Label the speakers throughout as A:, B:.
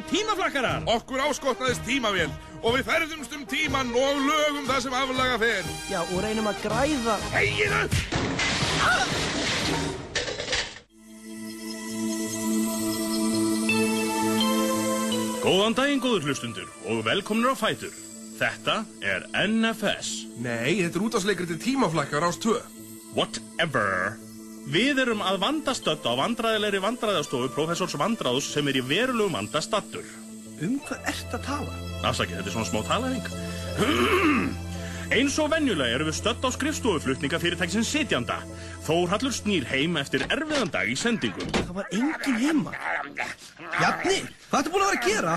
A: stjórnaflakkarar
B: Okkur áskotnaðist tímavél og við ferðumst um tíman og lögum það sem aflaga fer.
C: Já, og reynum að græða
B: Hegið upp!
A: Góðan daginn góður hlustundur og velkomnir á Fætur Þetta er NFS
B: Nei, þetta er útásleikritið tímaflakkar ást 2.
A: Whatever Við erum að vandastödd á vandræðilegri vandræðastofu Professors Vandráðs sem er í verulegum vandastattur
C: Um hvað ert að tala?
A: Afsakið, þetta er svona smá talaðing Eins og venjulega erum við stödd á skrifstofuflutninga fyrirtæksin sitjanda Þórhallur snýr heim eftir erfiðan dag í sendingum
C: Það var engin heima Jafni, hvað ertu búin að vera að gera?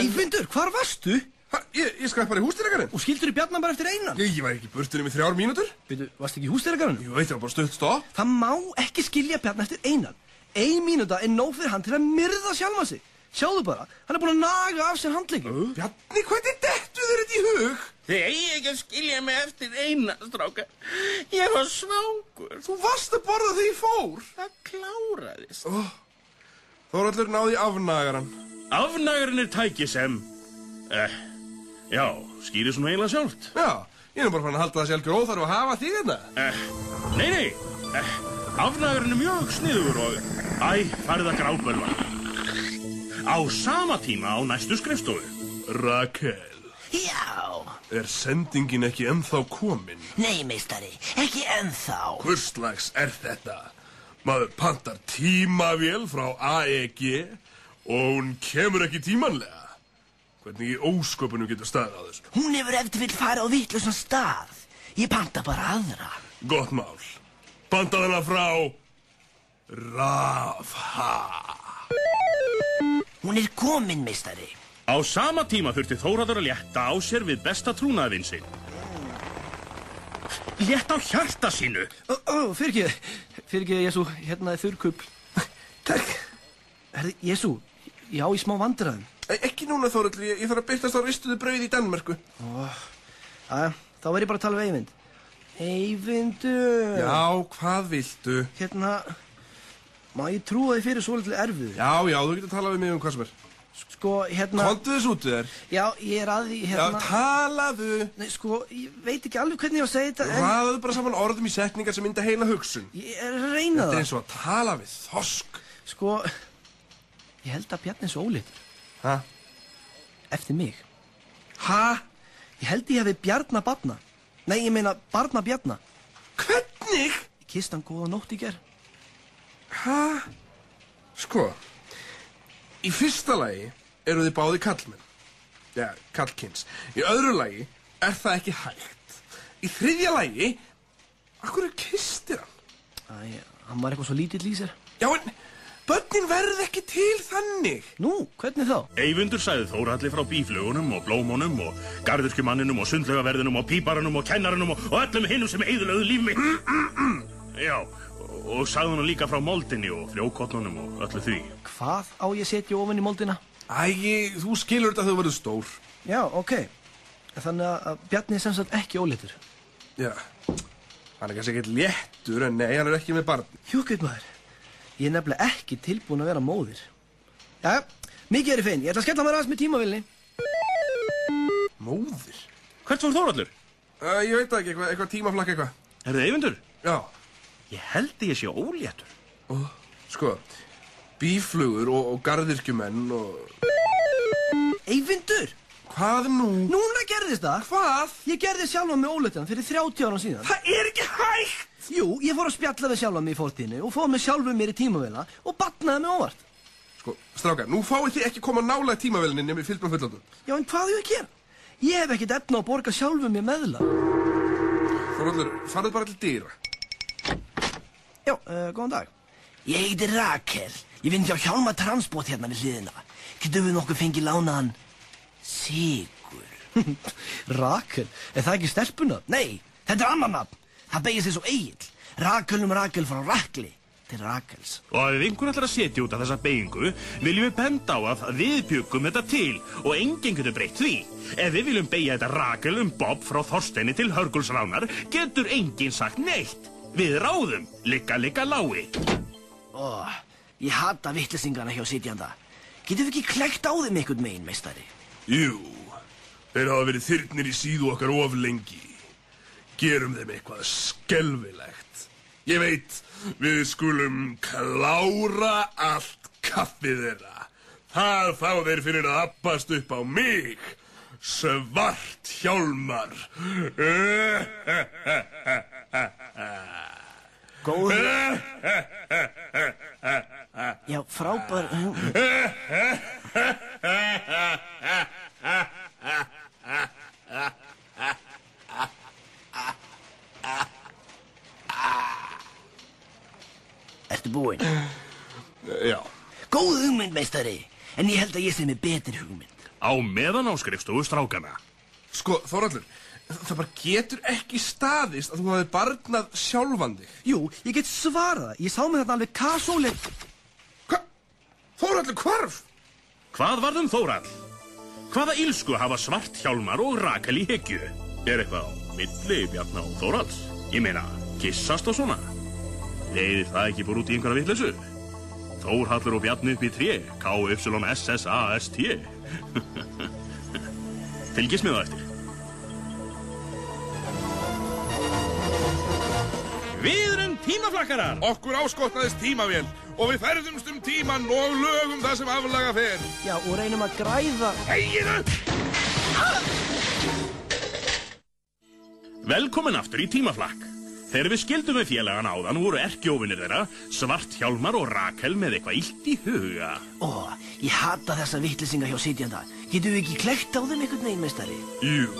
C: Eyvindur, hvar varstu?
B: Ha, ég, ég skrætt bara í hústýrakarinn.
C: Og skildur í bjarnan bara eftir einan?
B: Ég, ég var ekki í burtunum í þrjár mínútur.
C: Veitu, varstu ekki í hústyrkarinn?
B: Jú, þetta var bara stutt stopp.
C: Það má ekki skilja bjarnan eftir einan Ein mínúta er nóg fyrir hann til að myrða sjálfa sig Sjáðu bara, hann er búin að naga af sér handleikin
B: Bjarni, hvernig dettu þér þetta í hug?
D: Þið eigi ekki að skilja mig eftir eina, stráka. Ég var svangur.
B: Þú varst að borða þegar ég fór.
D: Það kláraðist.
B: Þóraldur náði í afnagaran.
A: Afnægurinn er tæki sem eh, Já, skýrið svona eiginlega sjálft
B: Já, ég er nú bara fann að halda það sjálfur óþarf að hafa þig hérna. þetta.
A: eh, Nei, nei eh, Afnægurinn er mjög sniður og Æ, farið að grábölva Á sama tíma á næstu skrifstofu Rakel
E: Já,
B: Er sendingin ekki ennþá komin?
E: nei meistari, ekki ennþá.
B: Hvurslags er þetta? Maður pantar tímavél frá AEG og hún kemur ekki tímanlega. Hvernig í ósköpunum getur staðið á þessu?
E: Hún hefur eftir vill fara á vittlusan stað. Ég panta bara aðra.
B: Gott mál. Pantað hana frá Rafa.
E: Hún er komin, meistari.
A: Á sama tíma þurfti Þóraður að létta á sér við besta trúnaðvinn sinn. Létta á hjarta sínu.
C: Ó, ó, fyrir ekki, fyrir ekki, Jésu, hérna er þurrkupp Takk Herði, Jésu, já, í smá vandræðum
B: E, Ekki núna Þóraldur, ég, ég þarf að byrtast á ristuðu brauð í Danmörku.
C: Æ, þá verð ég bara að tala við Eyvind Eyvindur
B: Já, hvað viltu?
C: Hérna Má ég trúa þið fyrir svolítið erfið
B: Já, já, þú getur að tala við mig um hvað sem er.
C: Sko, hérna
B: Kontu þess út við þér.
C: Já, ég er að því,
B: Já,
C: hérna
B: talaðu.
C: Nei, sko, ég veit ekki alveg hvernig ég var að segja þetta en
B: Raðaðu bara saman orðum í setningar sem mynda heila hugsun.
C: Ég er að reyna
B: Þetta er
C: það
B: eins og að tala við þorsk.
C: Sko Ég held að Bjarni er svo ólítur
B: Hæ?
C: Eftir mig
B: Hæ?
C: Ég held ég hefði Bjarna Barna Nei, ég meina Barna Bjarna
B: Hvernig?
C: Ég kist hann góða nótt í ger
B: Hæ? Sko, í fyrsta lagi eru þið báði kallmenn. Já, kallkins. Í öðru lagi er það ekki hægt. Í þriðja lagi, akkur er kistir hann?
C: Æ, hann var eitthvað svo lítill í sér
B: Já, en börnin verð ekki til þannig.
C: Nú, hvernig þá?
A: Eyvindur sagði Þóralli frá bíflugunum og blómunum og garðurkjumanninum og sundlaugaverðinum og píparanum og kennarunum og, og öllum hinnum sem eigðulegu líf mitt. Já, og sagði hann líka frá moldinni og frjókotnunum og öllu því.
C: Hvað á ég að setja ofan í moldina?
B: Æ, þú skilur þetta að þú verður stór.
C: Já, ok Þannig að- að Bjarni er sem sagt ekki ólítur
B: Já, hann er kannski ekkert léttur, en nei, hann er ekki með barni.
C: Hjúkveit maður Ég er nefnilega ekki tilbúin að vera móðir Jæja, mikið er í fein Ég ætla að skella mér aðeins með tímavilni
B: Móðir.
A: Hvert fór Þórallur?
B: Uh, ég veit það ekki, eitthvað, eitthvað tímaflakk eitthvað.
A: Er það Eyvindur?
B: Já,
A: Ég held ég sé óléttur.
B: sko, bíflugur og, og gardirkjumenn og...
C: Eyvindur,
B: Hvað nú?
C: núna gerðist það
B: Hvað?
C: Ég gerði sjálfa mig óléttan fyrir 30 ára síðan
B: Það er ekki hægt!
C: Jú, ég fór að spjalla við sjálfa mig í fórtíðinu og fóð mig sjálfu mér í tímavila og batnaði mig óvart
B: Sko, strákar, nú fáið þið ekki koma nálega tímavelinni nefnir fylgum fullandum.
C: Já, en hvað á ég að gera? Ég hef ekkert efna á að borga sjálfu mér meðla
B: Þorallur, farið bara til dýra.
C: Já, uh, góðan dag
E: Ég heiti Rakel. Ég vinn hjá Hjálma Transport hérna við hliðina. Getum við nokkuð fengið lánaðan Sigur?
C: Rakel, er það ekki stelpuna?
E: Nei, þetta er annan nafn. Það beigir sig svo eigin. Rakel um Rakel frá Rakli til Rakels.
A: Og ef einhvern ætlar að setja út af þessa beigingu, viljum við benda á að við bjögum þetta til og enginn getur breytt því. Ef við viljum beigja þetta rakel um Bob frá Þorsteini til Hörgulsránar, getur enginn sagt neitt. Við ráðum, líka líka lái.
E: Ó, Ég hata vittlisingana hjá sitjanda. Getum við ekki klekt á þeim einhvern megin, meistari?
F: Jú, þeir hafa verið þyrnir í síðu okkar of lengi. Gerum þeim eitthvað skelvilegt. Ég veit, við skulum klára allt kaffið þeirra. Það fá þeir fyrir að appast upp á mig. Svart hjálmar. Eh.
E: Góð... Já, frábær... Ertu búinn?
F: Já,
E: Góð hugmynd, meistari. En ég held að ég sé með betri hugmynd.
A: Á meðan á skrifstofu strákana.
B: Sko, Þorallur, það bara getur ekki staðist að þú hafi barnað sjálfan þig.
C: Jú, ég get svarað það. Ég sá mig þarna alveg kasóleg.
B: Hva? Þorallur hvarf?
A: Hvað varð um Þórall? Hvaða ílsku hafa svart hjálmar og rakal í hyggju? Er eitthvað á milli Bjarna og Þóralls? Ég meina, kissast og svona? Leiðir það ekki bara út í einhverja vitleysu? Þórhallur og Bjarni upp í 3, K-Y-S-S-A-S-T. Fylgist með það eftir.
D: Við erum tímaflakkarar
F: Okkur áskotnaðist tímavél og við ferðumst um tíman og lögum það sem aflaga fer.
E: Já, og reynum að græða...
F: Eginu!
A: Velkomin aftur í tímaflakk. Þegar við skildum við félagan áðan voru erkjófinir þeirra, svart hjálmar og rakel með eitthvað illt í huga.
E: Ó, ég hata þessa vittlisinga hjá sitjanda. Getum við ekki klekt á þeim einhvern megin, meistari?
F: Jú,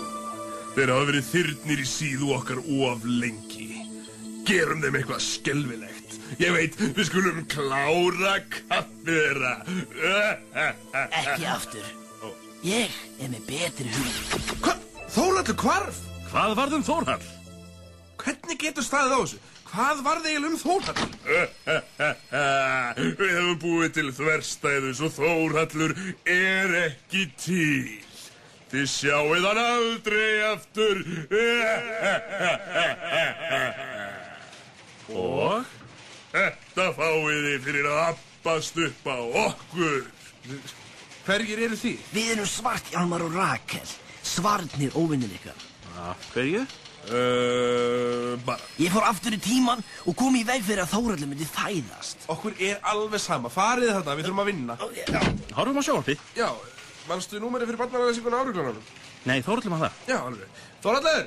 F: þeir hafa verið þyrnir í síðu okkar of lengi. Gerum þeim eitthvað skelvilegt. Ég veit, við skulum klára kaffið þeirra.
E: Ekki aftur. Ég er með betri hugmynd.
B: Hva? Þorallur hvarf?
A: Hvað varð um Þórhall?
B: Hvernig getur staðið á þessu? Hvað varði eiginlega um Þorallur?
F: Eh, Við hefum búið til þverstæðu svo Þórhallur er ekki til. Þið sjáuð hann aldrei aftur.
A: Og?
F: Þetta fáið þið fyrir að appast upp á okkur.
B: Hverjir eru því?
E: Við erum svart Hjalmar og Rakel. Svarnir óvinnir ykkar.
A: Af hverju?
F: Uh, bara.
E: Ég fór aftur í tíman og kom í veg fyrir að Þóraldur myndi fæðast.
B: Okkur er alveg sama. Farið þarna, við þurfum að vinna.
A: Horfum á sjónvarpið.
B: Já, manstu númerið fyrir barnaræðisíkuna áruglananum?
A: Nei, Þórhallum að það.
B: Já, alveg. Þorallur!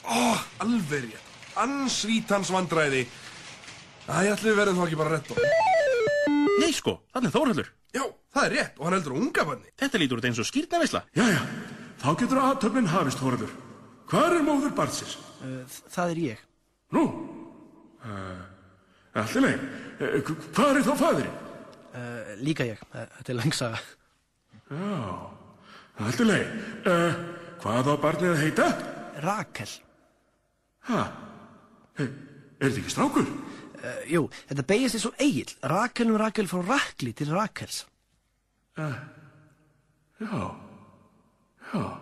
B: Ó, alveg rétt. Ansvít hans vandræði. Æ, allir verðum þá ekki bara rétt og...
A: Nei sko, þannig Þórhallur.
B: Já, það er rétt og hann heldur á unga banni.
A: Þetta lítur út eins og skýrnavisla.
G: Jæja, þá getur aðtöfnin hafist, Þorður. Hvar er móður barnsins?
C: Eh, Það er ég.
G: Nú, uh, allir leið, uh, hvað er þá fæðurinn?
C: Uh, líka ég. Uh, þetta er langsaga.
G: Allir leið, uh, hvað á barnið að heita?
C: Rakel.
G: Ha, er, er þetta ekki strákur?
C: Uh, jú, þetta beigist eins og eigil. Rakel um Rakel frá Rakli til Rakels.
G: Já, já,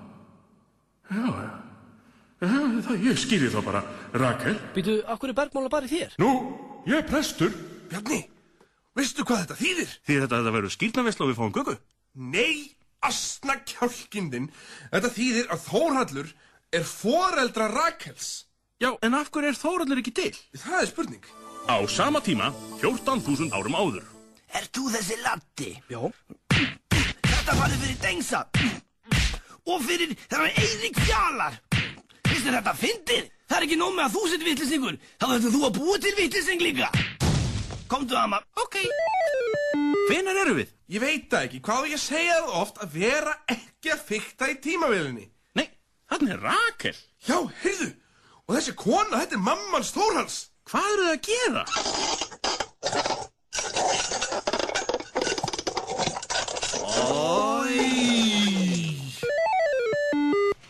G: já, já. Uh, það, ég skýri þá bara, Rakel.
C: Býtu, akkur er bergmála bara í þér?
G: Nú, ég er prestur.
B: Bjarni, veistu hvað þetta þýðir?
A: Því þetta, þetta verður skýrnavisla og við fáum gögu.
B: Nei, asna kjálkindin. Þetta þýðir að Þórhallur er foreldra Rakels.
A: Já, en af hverju er Þórhallur ekki til?
B: Það er spurning.
A: Á sama tíma, 14.000 árum áður.
E: Er þú þessi latti?
C: Já.
E: Þetta farið fyrir Dengsa. Og fyrir þennan Eirík Fjalar. Finnst þér þetta fyndið? Það er ekki nóg með að þú sett vittlisingur. Þá þurftur þú að búa til vittlising líka. Komdu, amma. Ok.
A: Hvenar eru við?
B: Ég veit það ekki, hvað á ég að segja það oft að vera ekki að fykta í tímavélinni?
A: Nei, þannig er Rakel.
B: Já, heyrðu, og þessi kona, þetta er mammans Þórhalls.
A: Hvað eru það að gera?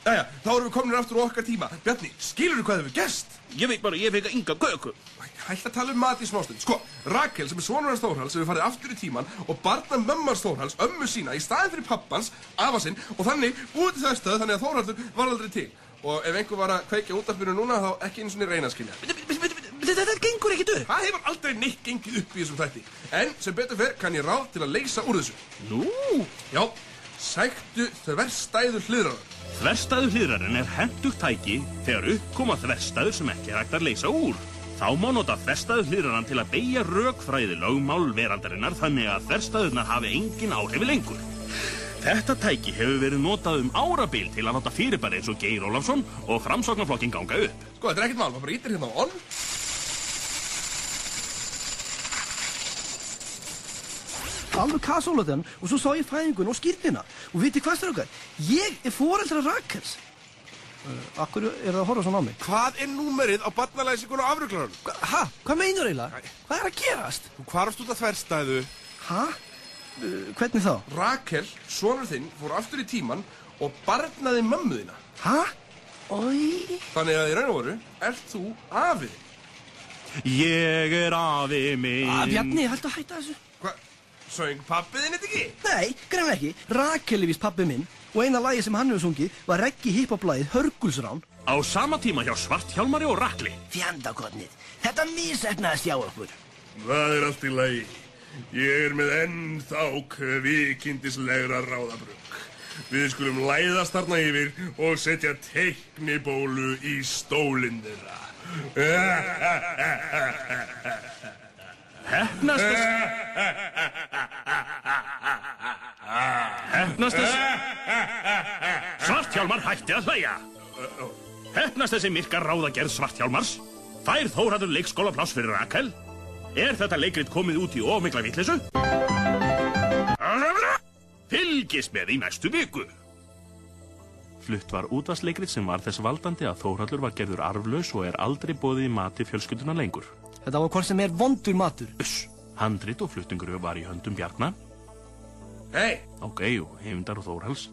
B: Jæja, þá erum við komin aftur á okkar tíma. Bjarni, skilur þú hvað hefur gerst?
A: Ég veit bara, ég fekk að ynga gögu.
B: Hætt að tala um mat í smástund. Sko, Rakel sem er sonur hans Þórhals hefur farið aftur í tíman og barna mömmars Þórhals ömmu sína í staðin fyrir pappans, afa sinn og þannig út í þess stöð þannig að Þórhaldur var aldrei til. Og ef einhver var að kveikja út af byrju núna þá ekki eins og niður reyna að skilja.
A: Bíddu, bíddu, bíddu, bíddu,
C: Þetta, þetta gengur ekkit upp.
B: Það hefur aldrei neitt gengið upp í þessum þætti. En sem betur fer kann ég ráð til að leysa úr þessu.
A: Nú,
B: Já, sæktu þverstæðu hliðraðar.
A: Þverstaðu hliðrarinn er hendugt tæki þegar upp koma þverstaður sem ekki er hægt að leysa úr. Þá má nota þverstaðu hliðrarann til að beigja rökfræði lögmál verandarinnar þannig að þverstaðurnar hafi engin áhrifi lengur. Þetta tæki hefur verið notað um árabil til að láta fyrirbæri eins og Geir Ólafsson og framsóknarflokkin ganga upp.
B: Sko, þetta er ekkert mál, maður bara ítir hérna á onn.
C: Alveg kasólóðan og svo sá ég fæðingun og skýrnina. Og viti hvað strákar? Ég er foreldra Rakkels. Uh, akkur er það að horfa svona á mig?
F: Hvað er númerið á barnalæsingun og afruglarunum?
C: Hva, ha? Hvað meinar eiginlega? Hvað er að gerast?
F: Þú hvarfst út af þverstæðu.
C: Ha? Uh, hvernig þá?
B: Rakel, sonur þinn, fór aftur í tíman og barnaði mömmu þína.
C: Ha? Oi.
B: Þannig að í raun og voru, ert þú afið.
A: Ég er afi minn.
C: Ah, Bjarni, hættu að hætta þessu.
B: Hvað, söng pappið þinn þetta ekki?
C: Nei, greinlega ekki. Rakel er vist pabbi minn og eina lagi sem hann hefur sungið var reggi hiphoplæðið Hörgulsrán.
A: Á sama tíma hjá Svarthjálmari og Rakli.
E: Fjandakotnið, þetta mísætnaðist hjá okkur.
F: Það er allt í lagi. Ég er með ennþá kvikindislegra ráðabrug. Við skulum læðast þarna yfir og setja teiknibólu í stólinn þeirra.
A: Hefnast þess... Svarthjálmar hætti að hlæja. Hefnast þessi myrka ráðagerð Svarthjálmars? Fær Þóraður leikskóla pláss fyrir Rakel? Er þetta leikrit komið út í ómikla vitleysu? Fylgist með í næstu viku. Flutt var útvarsleikrit sem var þess valdandi að Þóraldur var gerður arflaus og er aldrei bóðið í mati fjölskylduna lengur.
C: Þetta var hvort sem er vondur matur.
A: Uss, handrit og fluttingur var í höndum Bjarnar
B: Hei,
A: Ok, og heimindar og Þórhals.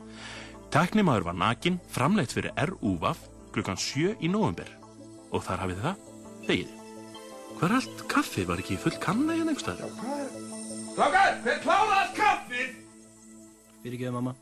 A: Teknimaður var nakin, framleitt fyrir RUVAF klukkan 7 í november. Og þar hafið þið það, þegið. Hvað er allt kaffið? Var ekki full kanna hérna einhverstaðar?
B: strákar, þeir kláraðast kaffið!
C: Fyrir mamma.